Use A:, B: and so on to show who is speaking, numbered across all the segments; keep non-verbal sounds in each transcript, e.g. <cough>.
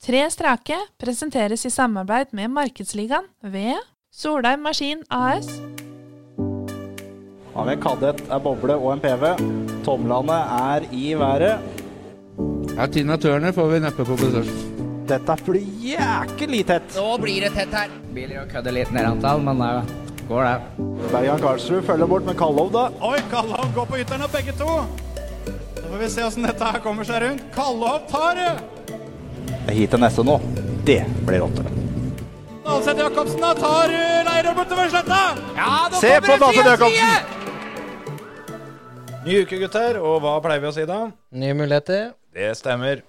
A: Tre strake presenteres i samarbeid med Markedsligaen ved Solheim Maskin AS.
B: Har vi en kadett, en boble og en PV. Tomlene er i været.
C: Ja, Tina Turner får vi neppe på besøk.
B: Dette blir jækelig tett.
D: Nå blir det tett her. Biler og kødder litt nedantall, men det går det.
B: Bergan Karlsrud følger bort med Kallov, da.
E: Oi, Kallov går på ytteren og begge to. Så får vi se åssen dette her kommer seg rundt. Kallov tar det!
B: Hit til neste nå. Det blir åtte.
E: Dalseth Jacobsen da tar eh, Leirum bortover sletta. Ja, nå
B: Se på Dalseth Jacobsen!
F: Ny uke, gutter, og hva pleier vi å si da?
D: Nye muligheter.
F: Det stemmer.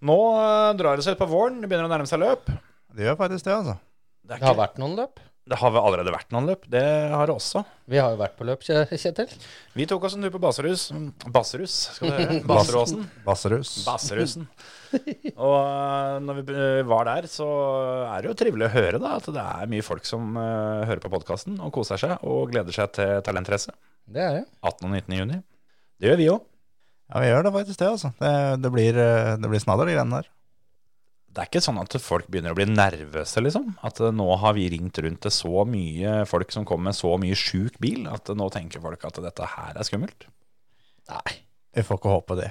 F: Nå eh, drar det seg ut på våren, det begynner å nærme seg løp.
G: Det gjør faktisk det, altså.
F: Det, er
D: Det har
F: ikke,
D: vært noen løp.
F: det har vel allerede vært noen løp, det har det også.
D: Vi har jo vært på løp, Kje- Kjetil.
F: Vi tok oss en tur på Basserus. Basserus, skal du høre. Basseråsen.
G: Basserus.
F: Basserusen. Og eh, når vi eh, var der, så er det jo trivelig å høre da, at det er mye folk som eh, hører på podkasten og koser seg og gleder seg til Talentrace
D: Det er det.
F: 18. og 19. juni. Det gjør vi òg.
G: Ja, vi gjør det faktisk det, altså. Det, det, blir, eh, det blir snadder, de greiene der.
F: Det er ikke sånn at folk begynner å bli nervøse, liksom. At eh, nå har vi ringt rundt til så mye folk som kommer med så mye sjuk bil, at eh, nå tenker folk at dette her er skummelt.
D: Nei,
G: Vi får ikke håpe det.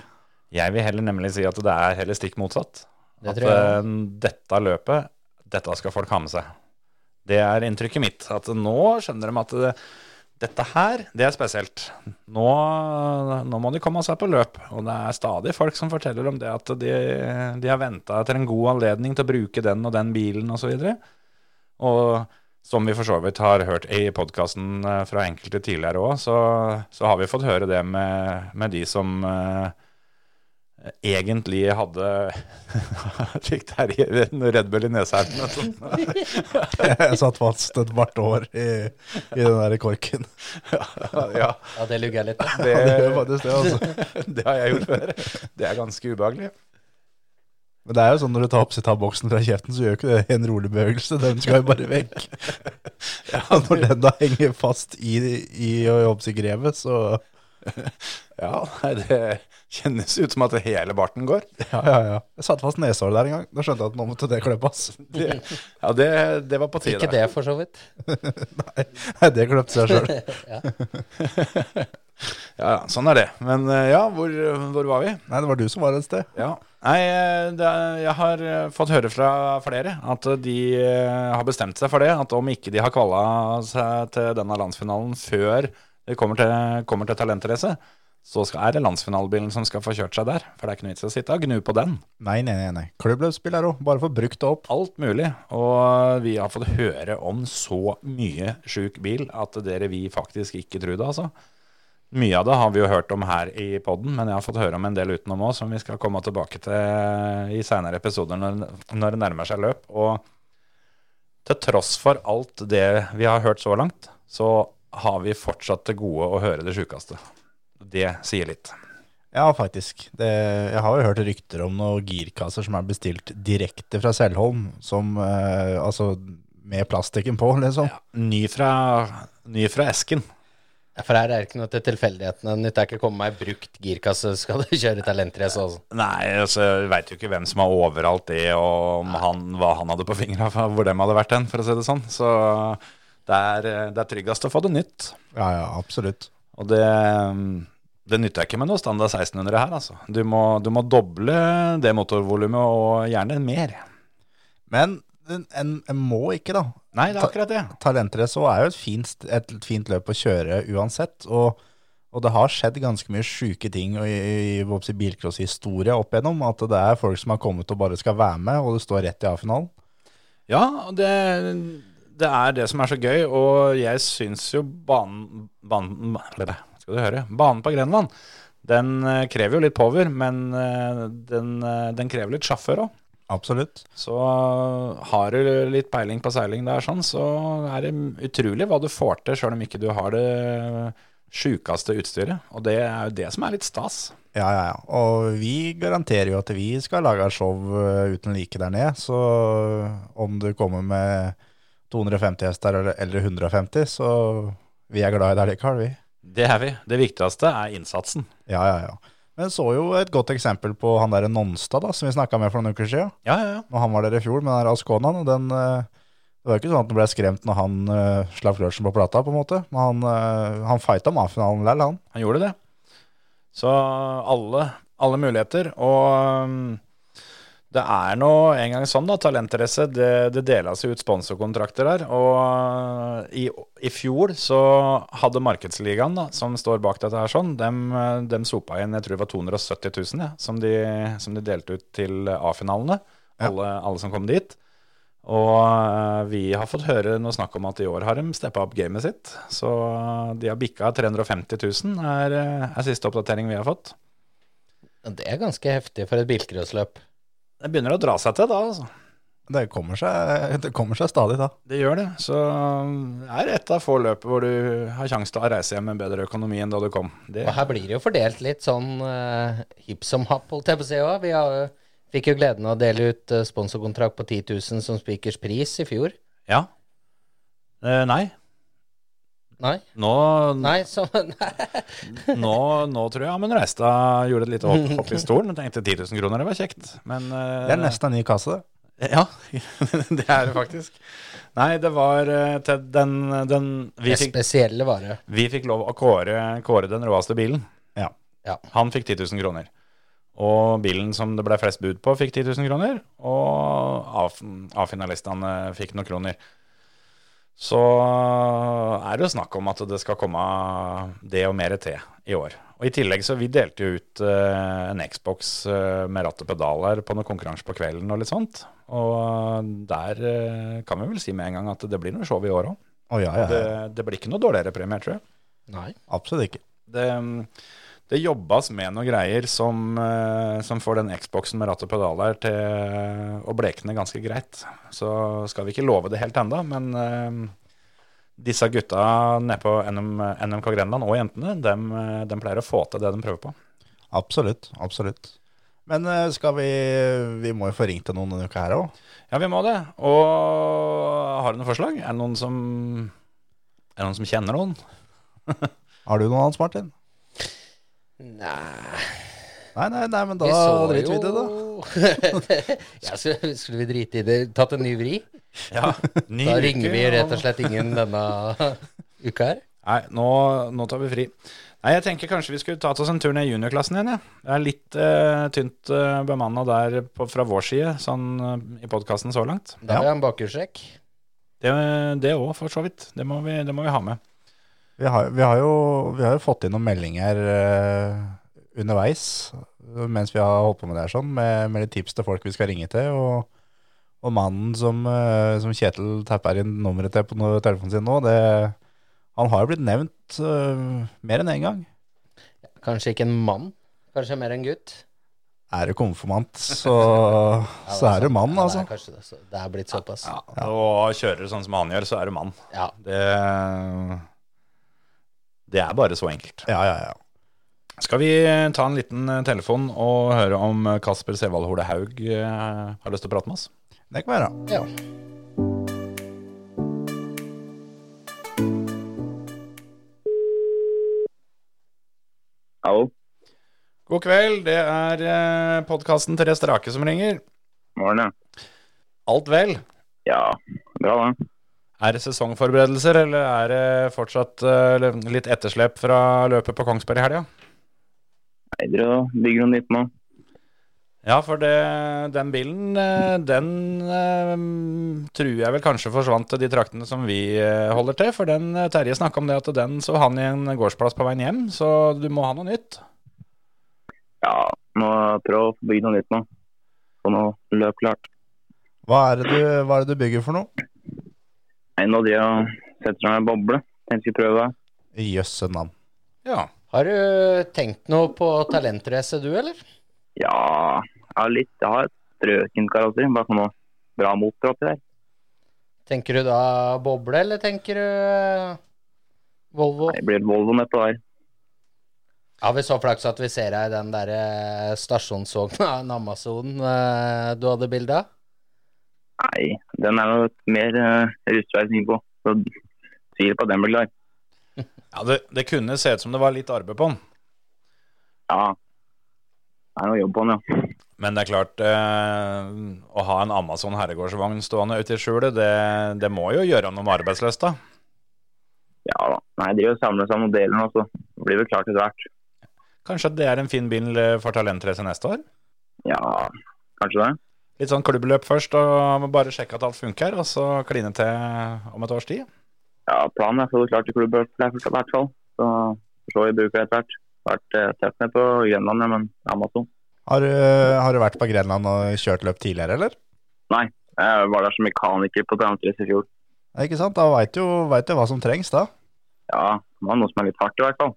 F: Jeg vil heller nemlig si at det er heller stikk motsatt.
D: det
F: at
D: tror jeg.
F: eh, dette løpet, dette skal folk ha med seg. Det er inntrykket mitt. At nå skjønner de at det, dette her, det er spesielt. Nå, nå må de komme seg på løp. Og det er stadig folk som forteller om det at de, de har venta etter en god anledning til å bruke den og den bilen osv. Og, så og som vi for så vidt har hørt i podkasten fra enkelte tidligere òg, så, så har vi fått høre det med, med de som eh, egentlig hadde <laughs> Fikk der i en Red Bull i neshaugen. Sånn.
G: Jeg satt fast et hvert år i, i den der korken. <laughs>
F: Ja,
D: Ja, det lugger jeg litt på.
F: det,
G: Det gjør faktisk det, altså.
F: det har jeg gjort før. Det er ganske ubehagelig.
G: Men det er jo sånn når du tar opp sitt av boksen fra kjeften, så gjør jo ikke det en rolig bevegelse. Den skal jo bare vekk. Og når den da henger fast i, i, i jobbsikrevet, så
F: <laughs> Ja, nei, det kjennes ut som at hele barten går.
G: Ja, ja, ja. Jeg satt fast neshåret der en gang. Da skjønte jeg at nå måtte det klippes.
F: <laughs> Det, ja, det, det var på tide.
D: <laughs> Ikke det, for så vidt.
G: Nei, det klipte seg sjøl.
F: Ja, ja, sånn er det. Men eh, ja, hvor, hvor var vi?
G: Nei, det var du som var et sted.
F: Ja. Nei, eh, det, er- jeg har eh, fått høre fra flere at eh, de eh, har bestemt seg for det. At om ikke de har kvala seg til denne landsfinalen før de kommer til, kommer til talentrace, så skal, er det landsfinalebilen som skal få kjørt seg der. For det er ikke noe vits i å sitte og gnu på den.
G: Nei, nei, nei. nei. Klubbløpsspill er òg. Bare få brukt det opp.
F: Alt mulig. Og vi har fått høre om så mye sjuk bil at dere vi faktisk ikke trodde, altså. Mye av det har vi jo hørt om her i podden, men jeg har fått høre om en del utenom òg, som vi skal komme tilbake til i seinere episoder når, når det nærmer seg løp. Og til tross for alt det vi har hørt så langt, så har vi fortsatt til gode å høre det sjukeste. Det sier litt.
G: Ja, faktisk. Det, jeg har jo hørt rykter om noen girkasser som er bestilt direkte fra Selholm, som eh, Altså med plastikken på, liksom.
F: Ny fra, ny fra esken.
D: Ja, For her er det ikke noe til tilfeldighetene. Nytt er ikke å komme med ei brukt girkasse, skal du <laughs> kjøre talentrace sånn. også.
F: Nei, altså, jeg veit jo ikke hvem som har overalt det, og om han, hva han hadde på fingra, hvor dem hadde vært hen, for å si det sånn. Så det er, det er tryggest å få det nytt.
G: Ja, ja, absolutt.
F: Og det, det nytter ikke med noe standard 1600 her, altså. Du må, du må doble det motorvolumet, og gjerne mer.
G: Men en, en, en må ikke, da.
F: Nei, det er akkurat det.
G: Talentrace også er jo et fint, st- et fint løp å kjøre uansett. Og, og det har skjedd ganske mye sjuke ting i, i, hva skal jeg si, bilcrosshistorie opp igjennom. At det er folk som har kommet og bare skal være med, og det står rett i A-finalen.
F: Ja, og det, det er det som er så gøy, og jeg syns jo banen, banen eller, Skal du høre, banen på Grenland, den eh, krever jo litt power, men eh, den, eh, den krever litt sjåfør òg.
G: Absolutt.
F: Så eh, har du litt peiling på seiling der, sånn, så er det utrolig hva du får til, sjøl om ikke du har det sjukeste utstyret. Og det er jo det som er litt stas.
G: Ja, ja, ja. Og vi garanterer jo at vi skal lage et show eh, uten like der nede. Så eh, om du kommer med 250 hester eller, eller 150, så vi er glad i deg likevel, vi.
F: Det er vi. Det viktigste er innsatsen.
G: Ja, ja, ja. Men jeg så jo et godt eksempel på han der Nonstad, da, som vi snakka med for noen uker siden.
F: Ja, ja, ja.
G: Når han var der i fjor med den der Asconaen. Og den, eh, det var jo ikke sånn at han ble skremt når han eh, slapp kløtsjen på plata, på en måte. Men han, eh, han fighta maffinalen lell, han.
F: Han gjorde det. Så alle, alle muligheter. Og um, det er nå engang sånn, da. Talentrace, det, det deles jo ut sponsorkontrakter her. Og uh, i, i fjor så hadde Markedsligaen, da, som står bak dette her sånn, dem, uh, dem sopa inn jeg tror det var 270 000, ja, som, de, som de delte ut til A-finalene.
G: Ja.
F: Alle, alle som kom dit. Og eh, vi har fått høre noe snakk om at i år har de steppa opp gamet sitt. Så eh, de har bikka 350 000, er, eh, er siste oppdatering vi har fått.
D: Det er ganske heftig for et bilcrossløp.
F: Det begynner å dra seg til da, altså.
G: Det kommer seg, <laughs> det kommer seg stadig, da.
F: Det gjør det. Så det er et av få løp hvor du har sjanse til å reise hjem med en bedre økonomi enn da du kom. Det,
D: Og her blir det jo fordelt litt sånn eh, hipp som happ, holdt jeg på å si også. Vi har, jo- fikk jo gleden av å dele ut eh, sponsorkontrakt på 10 000 som spikers pris i fjor.
F: ja. Eh, nei.
D: Nei,
F: Nå,
D: nei, så, <laughs> nei.
F: nå, nå tror jeg Amund Reistad gjorde et lite hopp, hopp i stolen og tenkte 10 000 kroner, det var kjekt. Men eh,
G: Det er nesten en ny kasse, det.
F: Ja, <laughs> det er det faktisk. Nei, det var eh, til den, den vi,
D: Det
F: fikk,
D: spesielle var det.
F: vi fikk lov å kåre, kåre den råeste bilen.
G: Ja.
D: Ja.
F: Han fikk 10 000 kroner. Og bilen som det ble flest bud på, fikk 10 000 kroner. Og av- A-finalistene fikk noen kroner. Så er det jo snakk om at det skal komme det og mer til i år. Og i tillegg så vi delte jo ut eh, en Xbox eh, med ratt og pedaler på noen konkurranse på kvelden og litt sånt. Og der eh, kan vi vel si med en gang at det blir noe show i år òg.
G: Å ja, ja,
F: Det,
G: ja.
F: det blir ikke noe dårligere premier, tror jeg
D: Nei.
G: Absolutt ikke.
F: det, mm, det jobbes med noen greier som, eh, som får den Xboxen med ratt og pedaler til eh, å blekne ganske greit. Så skal vi ikke love det helt enda, men eh, disse gutta nede på NM, NMK Grenland og jentene, dem, eh, dem pleier å få til det de prøver på.
G: Absolutt. Absolutt. Men eh, skal vi Vi må jo få ringt til noen denne uka her òg.
F: Ja, vi må det. Og har du noen forslag? Er det noen som, er det noen som kjenner noen?
G: Har du noen, Hans Martin?
D: Nei.
G: Nei, nei, nei, men da
D: Vi så
G: driter vi i det, da.
D: jo <laughs> ja, skulle, skulle vi drite i det? Tatt en ny vri?
F: Ja, ny
D: Da
F: uke,
D: ringer vi
F: og-
D: rett og slett ingen denne <laughs> uka her.
F: Nei, nå, nå tar vi fri. Nei, jeg tenker kanskje vi skulle tatt oss en tur ned i juniorklassen igjen, jeg. Det er litt eh, tynt uh, bemanna der på, fra vår side, sånn eh, i podkasten så langt.
D: Da har jeg en bakhjulstrekk.
F: Det det òg, for så vidt. Det må, vi, det må vi ha med.
G: Vi har, vi, har jo, vi har jo fått inn noen meldinger eh, underveis eh, mens vi har holdt på med det her sånn, med, med litt tips til folk vi skal ringe til. Og, og mannen som, eh, som Kjetil tapper inn nummeret til på no- telefonen sin nå, det, han har jo blitt nevnt eh, mer enn én gang.
D: Kanskje ikke en mann, kanskje mer en gutt.
G: Er du konfirmant, så, <laughs>
D: Ja,
G: så er du
D: sant.
G: mann,
D: Ja,
G: altså.
D: Det er, kanskje det, så det er blitt såpass. Ja.
F: Og kjører du sånn som han gjør, så er du mann. Det, det er bare så enkelt.
G: Ja, ja, ja.
F: Skal vi ta en liten eh, telefon og høre om eh, Kasper Sevald Hole Haug eh, har lyst til å prate med oss?
G: Det kan være.
D: Ja.
H: Hallo,
F: God kveld, det er eh, podkasten Tre strake som ringer.
H: morgen, ja.
F: Alt vel?
H: Ja, bra det.
F: Er det sesongforberedelser, eller er det fortsatt eh, litt etterslep fra løpet på Kongsberg i helga?
H: Jeg driver og bygger noe nytt nå.
F: Ja, for det, den bilen, eh, den eh, tror jeg vel kanskje forsvant til de traktene som vi eh, holder til. For den eh, Terje snakka om det at den så han i en gårdsplass på veien hjem, så du må ha noe nytt.
H: Ja, nå prøv å få bygd noe nytt nå. Få noe løp klart.
G: Hva er, det du, hva er det du bygger for noe?
H: Nei, nå driver jeg og setter meg en boble. Tenkte jeg skulle prøve det.
G: Jøsse navn.
F: Ja.
D: Har du tenkt noe på talentrace, du, eller?
H: Ja, jeg har litt. Jeg har et strøkent karakter. Bare få noe bra motor oppi der.
D: Tenker du da boble, eller tenker du eh, Volvo?
H: Det blir et Volvo nedpå der.
D: Har vi så flaks at vi ser deg i den der eh, stasjonsvogna, en Amazon, eh, du hadde bilde av?
H: Nei, den er jo mer uh, rustveisning på. Så tviler på at den blir klar.
F: ja det, det kunne se ut som det var litt arbeid på den.
H: Ja, Det er noe jobb på den, ja.
F: Men det er klart, eh, å ha en Amazon herregårdsvogn stående ute i skjulet, det, det må jo gjøre noe med arbeidsløsta.
H: Ja da. Nei, jeg driver og samler sammen delene, og så blir det klart etter hvert.
F: Kanskje det er en fin bil eh, for talentrace neste år?
H: Ja, kanskje det.
F: Litt sånn klubbløp først, og bare sjekke at alt funker, og så kline til om et års tid.
H: Ja, planen er å få det klart i klubben i hvert fall. Så får vi se hva vi bruker etter hvert. Vært eh, tett ned på Grønland, ja, men Amazon.
G: Har, du- har du vært på Grenland og kjørt løp tidligere, eller?
H: Jeg var der som mekaniker på Talentrace i fjor.
G: Ja, Ikke sant? Da veit du, vet du hva som trengs, da.
H: Ja, det var noe som er litt hardt i hvert fall.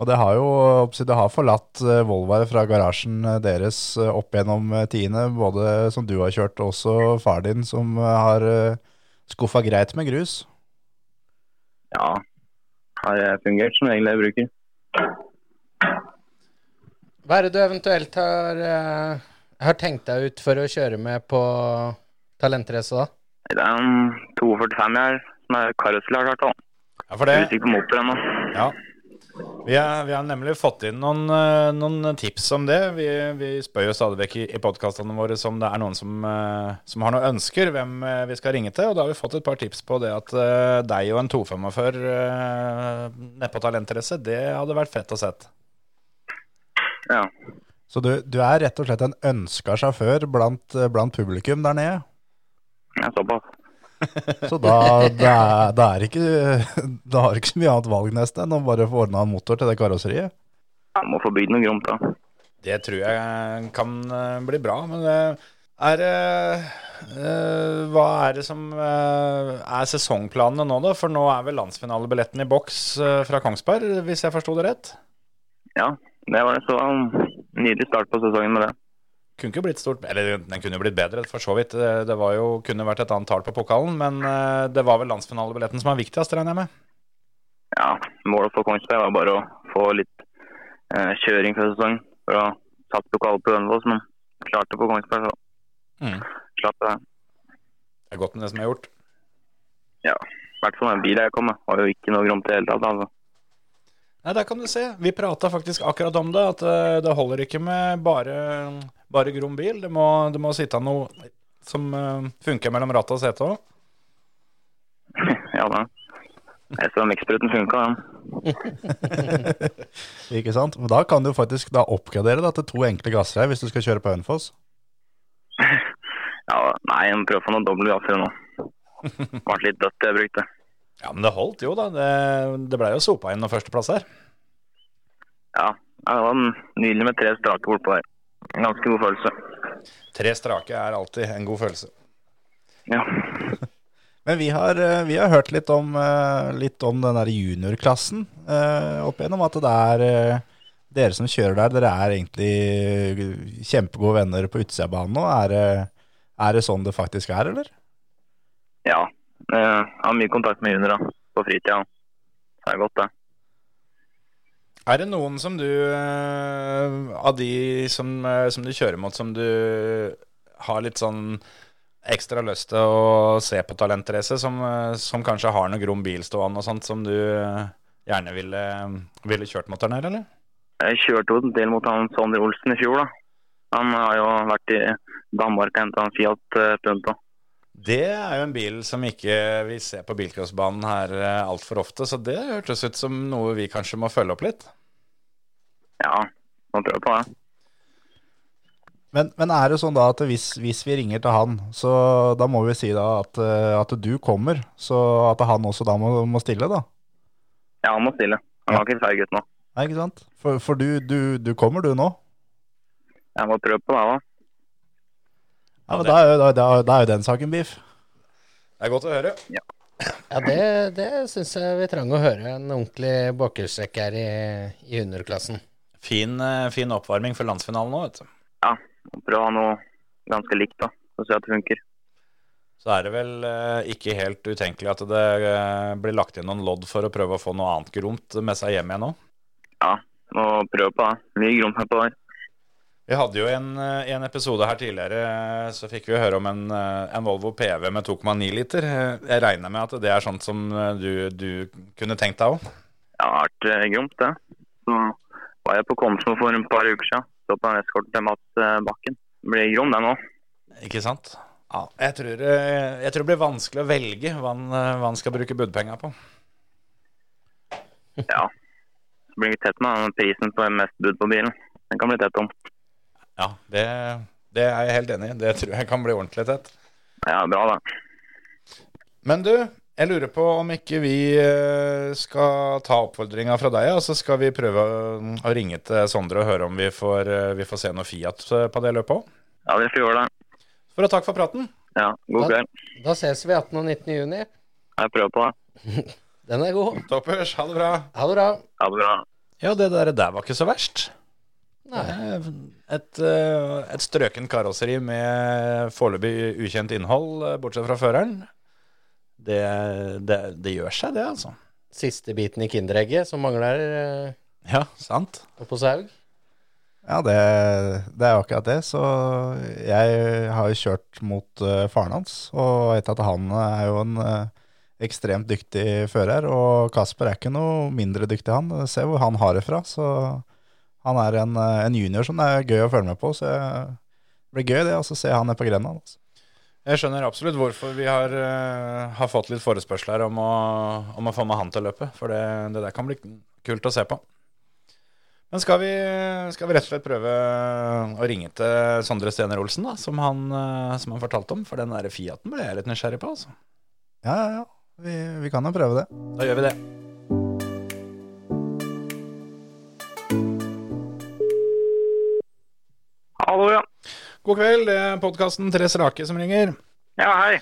G: Og det har jo oppsi- det har forlatt eh, Volvoer fra garasjen eh, deres eh, opp gjennom eh, tiende, både som du har kjørt, og også far din, som eh, har skuffa greit med grus.
H: Ja, har eh, fungert som regel det jeg bruker.
D: Hva er det du eventuelt har, eh, har tenkt deg ut for å kjøre med på talentrace, da?
H: Det er en 245 her som er karossel har klart, da.
F: Ja, for
H: Jeg er
F: det,
H: usikker på motor ennå.
F: ja. Vi, er, vi har nemlig fått inn noen, eh, noen tips om det. Vi, vi spør jo stadig vekk i, i podkastene våre om det er noen som, eh, som har noen ønsker, hvem eh, vi skal ringe til. Og da har vi fått et par tips på det at eh, deg og en 245 eh, nedpå talentrace, det hadde vært fett å sett.
H: Ja.
G: Så du, du er rett og slett en ønska sjåfør blant, eh, blant publikum der nede.
H: ja, såpass.
G: Så da, da, da, er ikke, <laughs> da har du ikke så mye annet valg nesten enn å bare få ordna en motor til det karosseriet.
H: Jeg må få bygd noe gromt, da.
F: Det tror jeg kan eh, bli bra, men det er eh, eh, Hva er det som eh, er sesongplanene nå, da? For nå er vel landsfinalebilletten i boks eh, fra Kongsberg, hvis jeg forsto det rett?
H: Det var en så um, nydelig start på sesongen med det.
F: Kunne ikke blitt stort, eller den kunne jo blitt bedre, for så vidt. Eh, Det var jo, kunne vært et annet tall på pokalen, men eh, det var vel landsfinalebilletten som er viktigst, regner jeg med.
H: Ja, målet for Kongsberg var bare å få litt eh, kjøring før sesongen. For å ha tatt lokalet på Hønefoss, men klarte på Kongsberg, så
F: Mm.
H: slapp det.
F: Det er godt med det som er gjort.
H: I hvert fall den bilen jeg kom med, var jo ikke noe gromt i det hele tatt. altså.
F: Nei, der kan du se. Vi prata faktisk akkurat om det, at eh, det holder ikke med bare, bare grom bil. Det må, det må sitte noe som eh, funker mellom ratt og sete òg.
H: Ja da. Jeg så mikspruten funka, den.
G: Ikke sant? Men da kan du faktisk da oppgradere da, til to enkle gassreier hvis du skal kjøre på Hønefoss.
H: Ja, nei, jeg må prøve å få noen doble gasser nå. Det ble litt dødt, det jeg brukte.
F: Ja, men det holdt jo, da. Det, det blei jo sopa inn noen førsteplasser.
H: Ja, det var nydelig med tre strake bortpå der. En Ganske god følelse.
F: Tre strake er alltid en god følelse.
H: Ja.
G: Men vi har, eh, vi har hørt litt om, eh, litt om den der juniorklassen eh, opp igjennom, at det er eh, dere som kjører der, dere er egentlig kjempegode venner på utsida av banen nå. Er, det- er det sånn det faktisk er, eller?
H: ja. Eh, Jeg har mye kontakt med junior da, på fritida. Så er det godt, det.
F: Er det noen som du eh, Av de som, eh, som du kjører mot, som du har litt sånn ekstra lyst til å se på talentrace, som, eh, som kanskje har noe grom bil stående og sånt, som du eh, gjerne ville, ville kjørt mot der nede, eller?
H: Jeg kjørte jo en del mot han Sander Olsen i fjor, da. Han har jo vært i Danmark og henta en Fiat eh, Punto.
F: Det er jo en bil som ikke vi ser på bilcrossbanen her eh, altfor ofte, så det hørtes ut som noe vi kanskje må følge opp litt.
H: Ja, må prøve på det.
G: Men, men er det sånn da at hvis, hvis vi ringer til han, så da må vi si da at, eh, at du kommer, så at han også da må, må stille da?
H: Ja, han må stille. Han har ikke feil gutt nå.
G: Nei, ikke sant? For, for du, du, du kommer du nå?
H: Jeg må prøve på det, da.
G: Ja, men da er, jo- da, da, da er jo den saken biff.
F: Det er godt å høre.
D: Ja, det, det syns jeg vi trenger å høre en ordentlig bakhjulstrekk her i, i juniorklassen.
F: Fin, eh, fin oppvarming for landsfinalen nå, vet du.
H: Må prøve å ha noe ganske likt, da. Så ser jeg at det funker.
F: så er det vel eh, ikke helt utenkelig at det eh, blir lagt inn noen lodd for å prøve å få noe annet gromt med seg hjem igjen òg.
H: Må prøve på det. Mye gromt her på der.
F: Vi hadde jo en, eh, en episode her tidligere, eh, så fikk vi høre om en, eh, en Volvo PV med 2,9 liter. Eh, Jeg regner med at det er sånt som eh, du, du kunne tenkt deg òg?
H: Ja, det har vært eh, gromt, det. Så var jeg på Komsmo for et par uker siden. Så på en eskorten til Mats eh, Bakken. Det blir grom, den òg.
F: Ikke sant? Ja, jeg tror, eh, jeg tror det blir vanskelig å velge hva han, eh, hva han skal bruke budpenga på.
H: Ja. Det blir tett med den prisen på mest bud på bilen. Den kan bli tett om.
F: Ja, det, det er jeg helt enig i. Det tror jeg kan bli ordentlig tett.
H: Ja, bra, da.
F: Men du, jeg lurer på om ikke vi eh, skal ta oppfordringa fra deg, og så skal vi prøve å- å ringe til Sondre og høre om vi får, eh, vi får se noe Fiat eh, på det løpet òg.
H: Ja, dere får gjøre det.
F: For å takke for praten.
H: Ja, god
D: Ja.
H: kveld.
D: Da ses vi 18. og 19. juni.
H: Jeg prøver på det.
D: Den er god.
F: Toppers, ha det bra.
D: Ha det bra.
H: Ha det bra.
F: Ja, det der, der var ikke så verst.
D: Nei.
F: Eh, Et, eh, et strøken karosseri med foreløpig ukjent innhold, eh, bortsett fra føreren. Det, det, det gjør seg, det, altså.
D: Siste biten i Kinderegget som mangler eh,
F: Ja, sant?
D: oppå Saug.
G: Ja, det, det er jo akkurat det. Så jeg har jo kjørt mot eh, faren hans, og vet at han er jo en eh, ekstremt dyktig fører. Og Kasper er ikke noe mindre dyktig, han. Se hvor han har det fra. Så han er en, eh, en junior som det er gøy å følge med på. Så jeg, det blir gøy det, og så ser han ned på grenda. Altså.
F: Jeg skjønner absolutt hvorfor vi har, eh, har fått litt forespørsler om å, om å få med han til løpet. For det, det der kan bli kult å se på. Men skal vi, skal vi rett og slett prøve å ringe til Sondre Stener Olsen, da, som han, eh, som han fortalte om? For den der Fiaten ble jeg litt nysgjerrig på, altså.
G: Ja, ja, ja. Vi, vi kan jo prøve det.
F: Da gjør vi det.
H: Hallo, ja.
F: God kveld, det er podkasten Tre strake som ringer.
H: Ja, hei.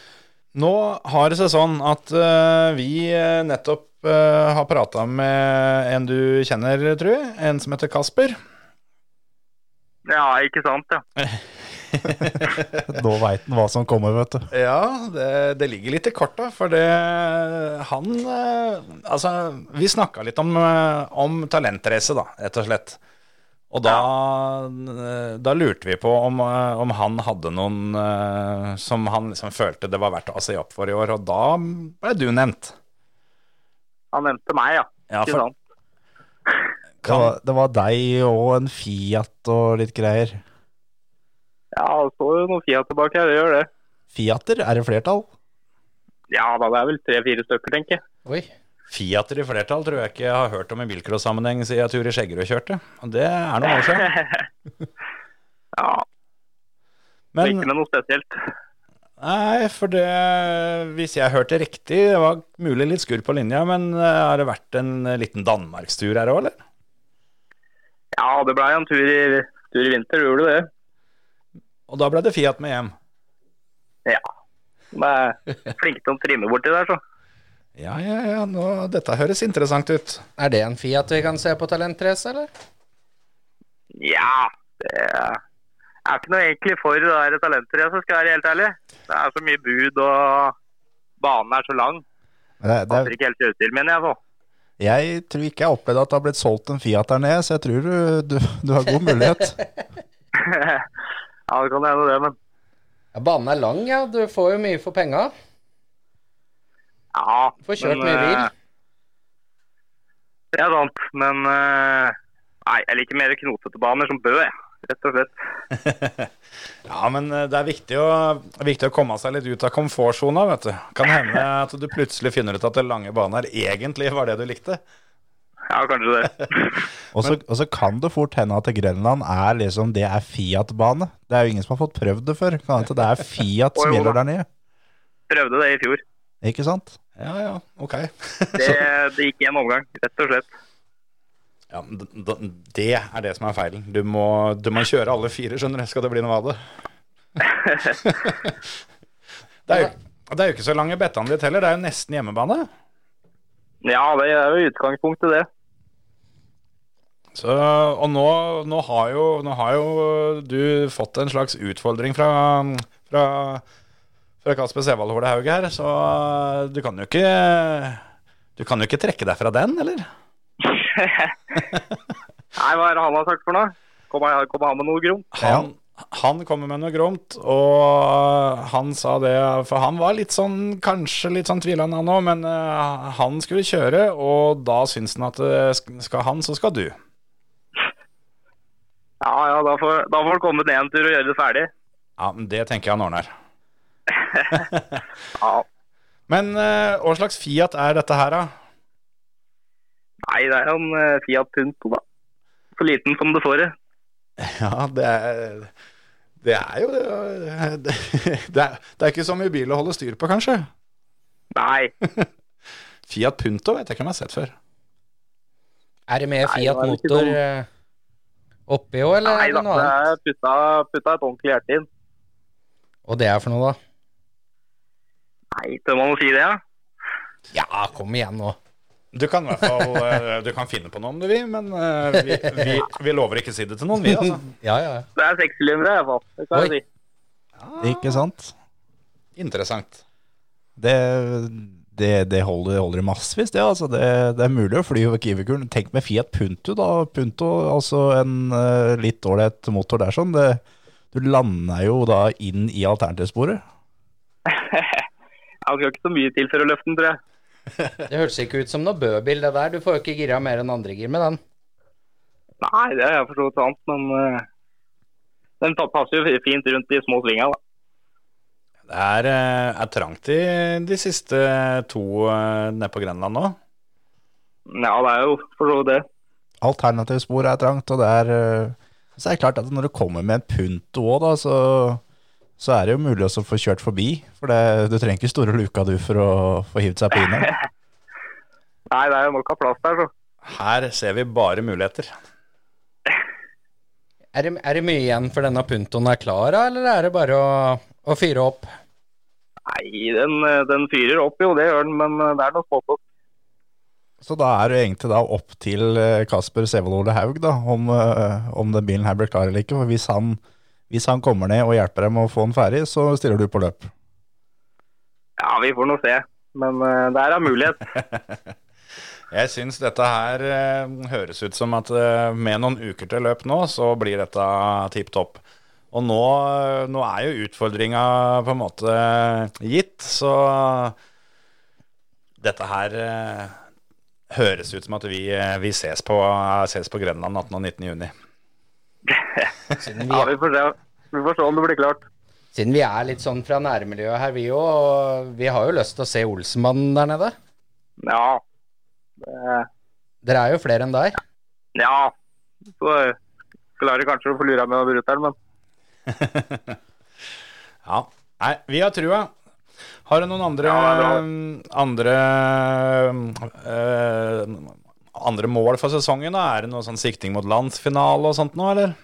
F: Nå har det seg sånn at eh, vi eh, nettopp eh, har prata med en du kjenner, tror jeg. En som heter Kasper.
H: Ja, ikke sant, ja.
G: Da veit han hva som kommer, vet du.
F: Ja, det, det ligger litt i korta, for det Han eh, Altså, vi snakka litt om, eh, om talentrace, da, rett og slett. Og da, eh, da lurte vi på om, eh, om han hadde noen eh, som han liksom følte det var verdt å se opp for i år, og da ble du nevnt.
H: Han nevnte meg, ja.
F: Ja,
H: Ikke sant?
G: Det var, det var deg og en Fiat og litt greier.
H: Ja, det står jo noen Fiat tilbake her, det gjør det.
G: Fiater er i flertall.
H: Ja da, det er vel tre-fire stykker, tenker jeg.
D: Oi.
F: Fiater i flertall tror jeg ikke jeg har hørt om i bilcross-sammenheng siden jeg tur i Skjeggerud kjørte. Og det er noen år siden.
H: <laughs> Ja, men
F: Men
H: ikke med noe spesielt.
F: nei, for det Hvis jeg hørte riktig, det var mulig litt skurr på linja, men eh, har det vært en eh, liten danmarkstur her òg, eller?
H: Ja, det blei en tur i, tur i vinter, gjorde det det?
F: Og da ble det Fiat med hjem.
H: De er flinke til å trimme borti der, så.
F: Ja, ja, ja, nå, dette høres interessant ut.
D: Er det en Fiat vi kan se på talentrace, eller?
H: Ja, det er jeg er ikke noe egentlig for det der talentracet, skal jeg være helt ærlig. Det er så mye bud, og banen er så lang.
G: Men det, det,
H: Passer ikke helt til utstyret mitt, jeg, så.
G: Jeg tror ikke jeg har opplevd at det har blitt solgt en Fiat der nede, så jeg tror du, du, du har god mulighet.
H: ja, det kan hende det, men
D: Ja, Banen er lang, ja. Du får jo mye for penga.
H: ja.
D: Får kjørt
H: men,
D: mye bil.
H: eh, Det er sant, men eh, nei, jeg liker mer knotete baner som Bø, jeg. Rett og slett.
F: <laughs> Ja, men eh, det er viktig å, viktig å komme seg litt ut av komfortsona, vet du. Kan hende at du plutselig finner ut at den lange banen her egentlig var det du likte.
H: Ja,
D: <laughs>
H: kanskje det.
G: Og så- og så kan det fort hende at Grenland er liksom, det er Fiat-bane. Det er jo ingen som har fått prøvd det før. Kan hende det er Fiat som
H: Å, jo
G: gjelder
H: da.
G: der nede.
H: Prøvde det i fjor.
G: Ikke sant?
F: Ja, ja, ok. <laughs>
H: Det, det gikk i en omgang, rett og slett.
F: Ja, men d- d- Det er det som er feilen. Du må, du må kjøre alle fire, skjønner du, skal det bli noe av det. <laughs> det, er jo, det er jo ikke så lange bettene ditt heller, det er jo nesten hjemmebane.
H: Ja, det er jo utgangspunktet, det.
F: Så, og nå, nå, har jo, nå har jo du fått en slags utfordring fra, fra, fra Kasper Sevald Håle Haug her, så du kan jo ikke du kan jo ikke trekke deg fra den, eller?
H: <laughs> Nei, hva er det han har sagt for noe? Kommer han, kommer han med noe gromt?
F: Han, han kommer med noe gromt, og han sa det For han var litt sånn, kanskje litt sånn tvilende han òg, men eh, han skulle kjøre, og da syns han at eh, sk- skal han, så skal du.
H: ja, da får, da får han komme ned en tur og gjøre det ferdig.
F: Ja, men Det tenker jeg han ordner.
H: Ja.
F: Men eh, hva slags Fiat er dette her, da?
H: Nei, det er jo en eh, Fiat Punto, da. Så liten som det får det.
F: Ja, det er, det er jo det, er, det er ikke så mye bil å holde styr på, kanskje.
H: Nei.
F: Fiat Punto vet jeg ikke om jeg har sett før.
D: Er det med
H: Nei,
D: Fiat
H: det er ikke
D: motor
H: dum.
D: eh, oppi òg, eller
H: Nei
D: er
H: da,
D: det noe annet?
H: jeg putta, putta et ordentlig hjerte inn.
D: Og det er for noe, da?
H: Nei, tør man å si det, ja?
D: Ja, kom igjen nå.
F: Du kan i hvert fall eh, du kan finne på noe om du vil, men eh, vi, vi, vi lover ikke å si det til noen, vi, altså.
D: Ja, ja. ja.
H: Det er sekssylindere, i hvert fall. Det kan
D: Oi.
H: jeg si.
G: <laughs> Ikke sant?
F: Interessant.
G: Det, det, det holder, holder i massevis, det. Altså. Det, det er mulig å fly over Kiwikulen. Tenk med Fiat Punto, da. Punto, altså en eh, litt ålreit motor der, sånn. Det, du lander jo da inn i alternativsporet.
H: Jeg skal ikke så mye til for å løfte den, tror jeg.
D: Det hørtes ikke ut som noe bøbil, det der. Du får jo ikke gira mer enn andre gir med den.
H: Nei, det er for så vidt sant, men eh, den pa- passer jo fint rundt de små svinga, da.
F: Det er, eh, er trangt i de siste to eh, nede på Grenland nå.
H: Ja, det er jo for så vidt det.
G: Alternativsporet er trangt, og det er eh, Så er det klart at når du kommer med en Punto òg, da, så så er det jo mulig også å få kjørt forbi, for det, du trenger ikke store luka du for å få hivd seg på inne.
H: Nei, det er jo nok av plass der, så.
F: <laughs> Her ser vi bare muligheter.
D: Er det, er det mye igjen for denne puntoen er klar, da, eller er det bare å, å fyre opp?
H: Nei, den, eh, den fyrer opp jo, det gjør den, men eh, det er noe smått.
G: Så da er det jo egentlig da opp til eh, Kasper Sevold Ole Haug da, om, eh, om den bilen her blir klar eller ikke. For hvis han, hvis han kommer ned og hjelper dem å få den ferdig, så stiller du på løp.
H: Ja, vi får nå se. Men eh, der er mulighet.
F: Jeg syns dette her eh, høres ut som at eh, med noen uker til løp nå, så blir dette tipp topp. Og nå, eh, nå er jo utfordringa på en måte eh, gitt, så dette her eh, høres ut som at vi, eh, vi ses, på, eh, ses på Grenland 18. og 19. juni.
D: Siden
H: Ja,
D: vi,
H: vi får se. Vi får se om det blir klart.
D: siden vi er litt sånn fra nærmiljøet her, vi òg. og Vi har jo lyst til å se Olsenmannen der nede.
H: Ja. Det-
D: Dere er jo flere enn der.
H: Ja. Så eh, klarer kanskje å få lura med brutter'n, men
F: Ja. Nei, vi har trua. Har du noen andre
H: Ja, det er bra.
F: um, andre um, eh, andre mål for sesongen? da? Er det noe sånn sikting mot landsfinale og sånt nå, eller?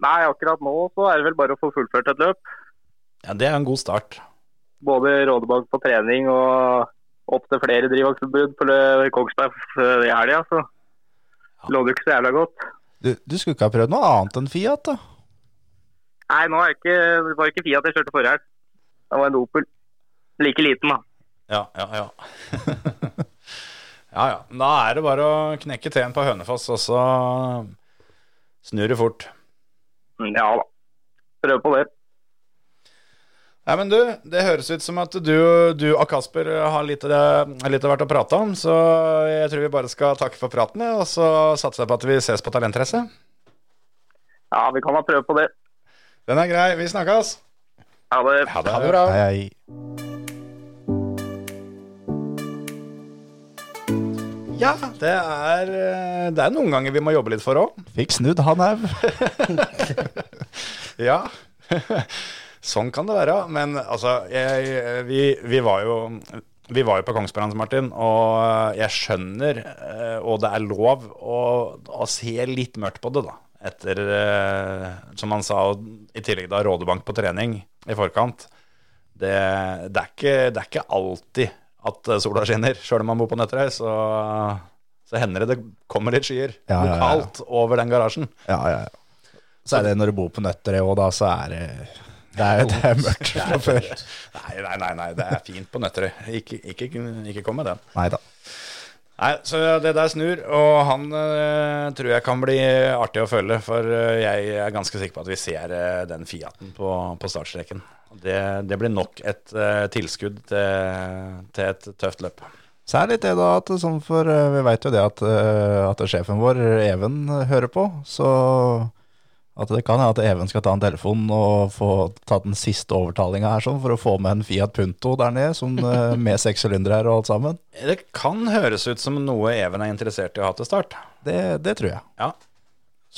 H: nei, akkurat nå så er det vel bare å få fullført et løp.
F: Ja, det er en god start.
H: Både rådebank på trening og opp til flere drivvaktforbud på lø- Kongsberg eh, i helga, så lå det jo ikke så jævla godt.
G: Du, du skulle ikke ha prøvd noe annet enn Fiat, da?
H: Nei, nå er det ikke, det var ikke Fiat jeg kjørte forrige helg. Det var en Opel. Like liten, da.
F: Ja, ja, ja. <laughs> ja, ja. Da er det bare å knekke teen på Hønefoss, og så snur det fort.
H: Ja da. Prøv på det.
F: Nei, men du, det høres ut som at du, du og Kasper har litt, eh, litt å være å prate om, så jeg tror vi bare skal takke for praten, ja, og så satser jeg på at vi ses på Talentrace.
H: Ja, vi kan da prøve på det.
F: Den er grei, vi snakkes!
H: Ha det.
D: Ha det bra.
G: Hei, hei.
F: Ja, det er, eh, det er noen ganger vi må jobbe litt for òg.
G: Fikk snudd han Haug.
F: <laughs>
G: <laughs>
F: Ja. sånn kan det være. Men altså, jeg, vi, vi var jo vi var jo på Kongsberg, Hans Martin, og jeg skjønner, eh, og det er lov, å, å se litt mørkt på det, da. Etter, eh, som han sa, og i tillegg da Rådebank på trening i forkant. Det, det, er, ikke, det er ikke alltid at eh, sola skinner, sjøl om man bor på Nøtterøy. Så, så hender det det kommer litt skyer
G: Ja, ja, ja.
F: lokalt over den garasjen.
G: Ja, ja, ja. Så er det når du bor på Nøtterøy òg, da, så er det Det er, det er mørkt fra før.
F: Nei, nei, nei, nei, det er fint på Nøtterøy. Ikke, ikke, ikke kom med den.
G: Nei da.
F: Nei, Så det der snur, og han eh, tror jeg kan bli artig å følge. For eh, jeg er ganske sikker på at vi ser eh, den Fiaten på, på startstreken. Det, det blir nok et eh, tilskudd til, til et tøft løp.
G: Så er det litt det da, at sånn for eh, vi veit jo det at, eh, at sjefen vår, Even, eh, hører på. Så At det kan hende at Even skal ta en telefon og få tatt den siste overtalinga her sånn, for å få med en Fiat Punto der nede,
F: <laughs>
G: som, eh, med seks sylindere her og alt sammen.
F: Det kan høres ut som noe Even er interessert i å ha til start.
G: Det, det tror jeg.
F: Ja.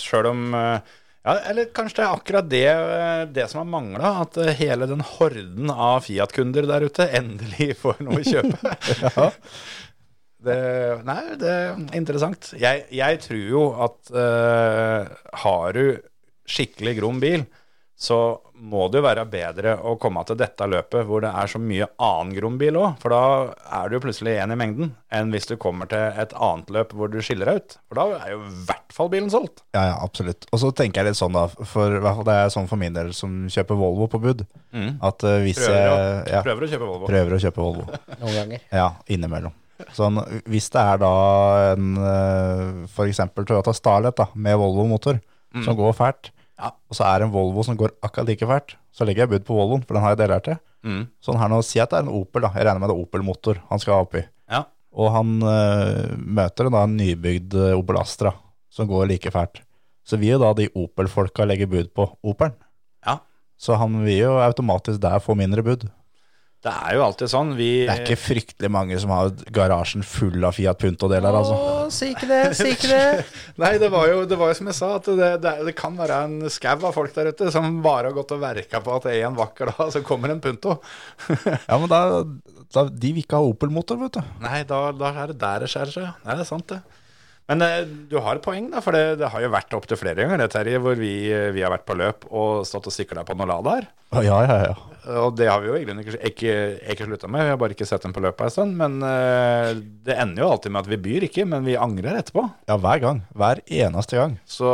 F: Sjøl om eh, ja, Eller kanskje det er akkurat det, eh, det som har mangla. At eh, hele den horden av Fiat-kunder der ute endelig får noe å kjøpe.
G: <laughs>
F: det, nei, det er interessant. Jeg, jeg tror jo at eh, har du skikkelig grom bil, så må det jo være bedre å komme til dette løpet hvor det er så mye annen grom bil òg. For da er du plutselig én i mengden, enn hvis du kommer til et annet løp hvor du skiller deg ut. For da er jo i hvert fall bilen solgt.
G: Ja, ja, absolutt. Og så tenker jeg litt sånn, da, for i hvert fall det er sånn for min del som kjøper Volvo på bud, at eh, hvis
F: Mm. Prøver å,
G: jeg ja,
F: prøver å kjøpe Volvo.
G: prøver å kjøpe Volvo.
D: noen ganger.
G: Ja, innimellom. Sånn, hvis det er da en eh, for eksempel Toyota Starlet da, med Volvo-motor som går fælt,
F: Mm. Ja.
G: og så er det en Volvo som går akkurat like fælt, så legger jeg bud på Volvoen, for den har jeg deler til.
F: Mm.
G: Sånn her nå, si at det er en Opel, da. jeg regner med det er Opel-motor han skal opp i.
F: Ja.
G: Og han eh, møter da en nybygd eh, Opel Astra som går like fælt. Så vil jo da de Opel-folka legge bud på Opelen.
F: Ja.
G: Så han vil jo automatisk der få mindre bud.
F: Det er jo alltid sånn. Vi
G: Det er ikke fryktelig mange som har garasjen full av Fiat Punto-deler, altså.
D: Å, si ikke det, si ikke det.
F: Nei, det var jo, det var jo som jeg sa, at det, det, det kan være en skau av folk der ute som bare har gått og verka på at en vakker dag så kommer en Punto.
G: Ja, men da, da, de vil ikke ha Opel-motor, vet du.
F: Nei, da, da er det der det skjærer seg. Nei, det er sant, det. Men eh, du har et poeng, da, for det, det har jo vært opptil flere ganger det, Terje, hvor vi, vi har vært på løp og stått og sikla på noen ladaer.
G: Å, Ja, ja, ja.
F: Og det har vi jo egentlig ikke, ikke, ikke slutta med, vi har bare ikke sett dem på løpet en stund. Men eh, det ender jo alltid med at vi byr ikke, men vi angrer etterpå.
G: Ja, hver gang. Hver eneste gang.
F: Så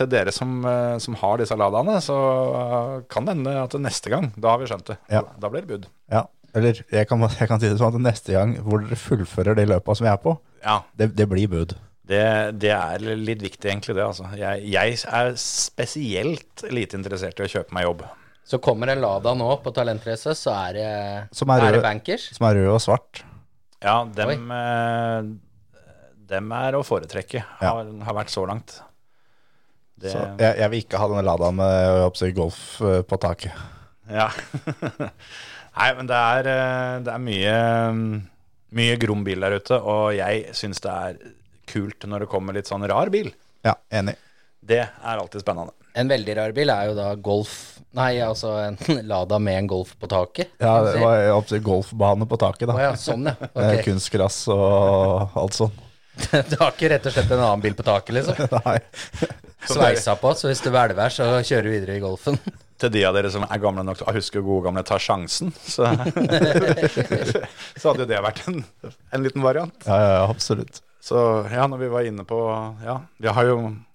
F: til dere som, eh, som har disse ladaene, så eh, kan det hende at neste gang, da har vi skjønt det.
G: Ja.
F: Da blir det bud.
G: Ja. Eller jeg kan, jeg kan si det sånn at neste gang hvor dere fullfører de løpa som jeg er på,
F: Ja,
G: det, det blir bud.
F: Det, det er litt viktig, egentlig, det. Altså. Jeg, jeg er spesielt lite interessert i å kjøpe meg jobb.
D: Så kommer en Lada nå på talentrace, så er det,
G: Som er
D: er
G: rød.
D: det bankers.
G: Som er rød og svart.
F: Ja, dem, eh, dem er å foretrekke,
G: Ja.
F: har, har vært så langt. Det,
G: Så jeg, jeg vil ikke ha denne Ladaen med jeg håper å si, Golf eh, på taket.
F: Ja. <laughs> Nei, men det er, eh, det er mye, mm, mye grom bil der ute, og jeg syns det er kult når det kommer litt sånn rar bil.
G: Ja, enig.
F: Det er alltid spennende.
D: En veldig rar bil er jo da Golf Nei, altså en Lada med en Golf på taket.
G: Ja, det var jeg håper å si, golfbane på taket,
D: Å
G: da.
D: ja, sånn, ja.
G: Eh,
D: Ok.
G: Kunstgress og alt sånn.
D: <laughs> Du har ikke rett og slett en annen bil på taket, liksom?
G: <laughs> Nei.
D: Sveisa på, så hvis du hvelver, så kjører du videre i Golfen.
F: Til de av dere som er gamle nok til å huske gode gamle Ta sjansen, så, <laughs> så hadde jo det vært en, en liten variant.
G: Ja, ja, ja, absolutt.
F: Så ja, når vi var inne på Ja, vi har jo,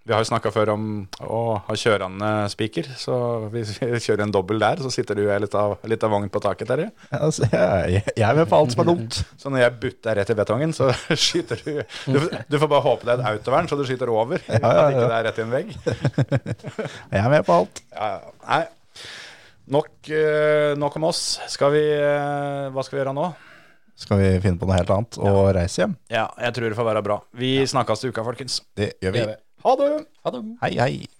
F: vi har jo snakka før om å ha kjørende spiker, så hvis vi kjører en dobbel der, så sitter du i litt av, litt av vogn på taket, Terje.
G: Altså, jeg, jeg er med på alt som er dumt.
F: Så når jeg butter rett i betongen, så <laughs> skyter du Du, du får bare håpe det er et autovern, så du skyter over.
G: ja,
F: At ikke
G: ja.
F: det er rett i en vegg.
G: Jeg er med på alt.
F: Ja, ja. Nei. Nok, eh, nok om oss. Skal vi eh, Hva skal vi gjøre nå?
G: Skal vi finne på noe helt annet og reise hjem?
F: Ja, jeg tror det får være bra. Vi snakkes til uka, folkens.
G: Det gjør vi.
D: Gjør vi.
F: Ha det!
D: Ha det.
G: Hei, hei.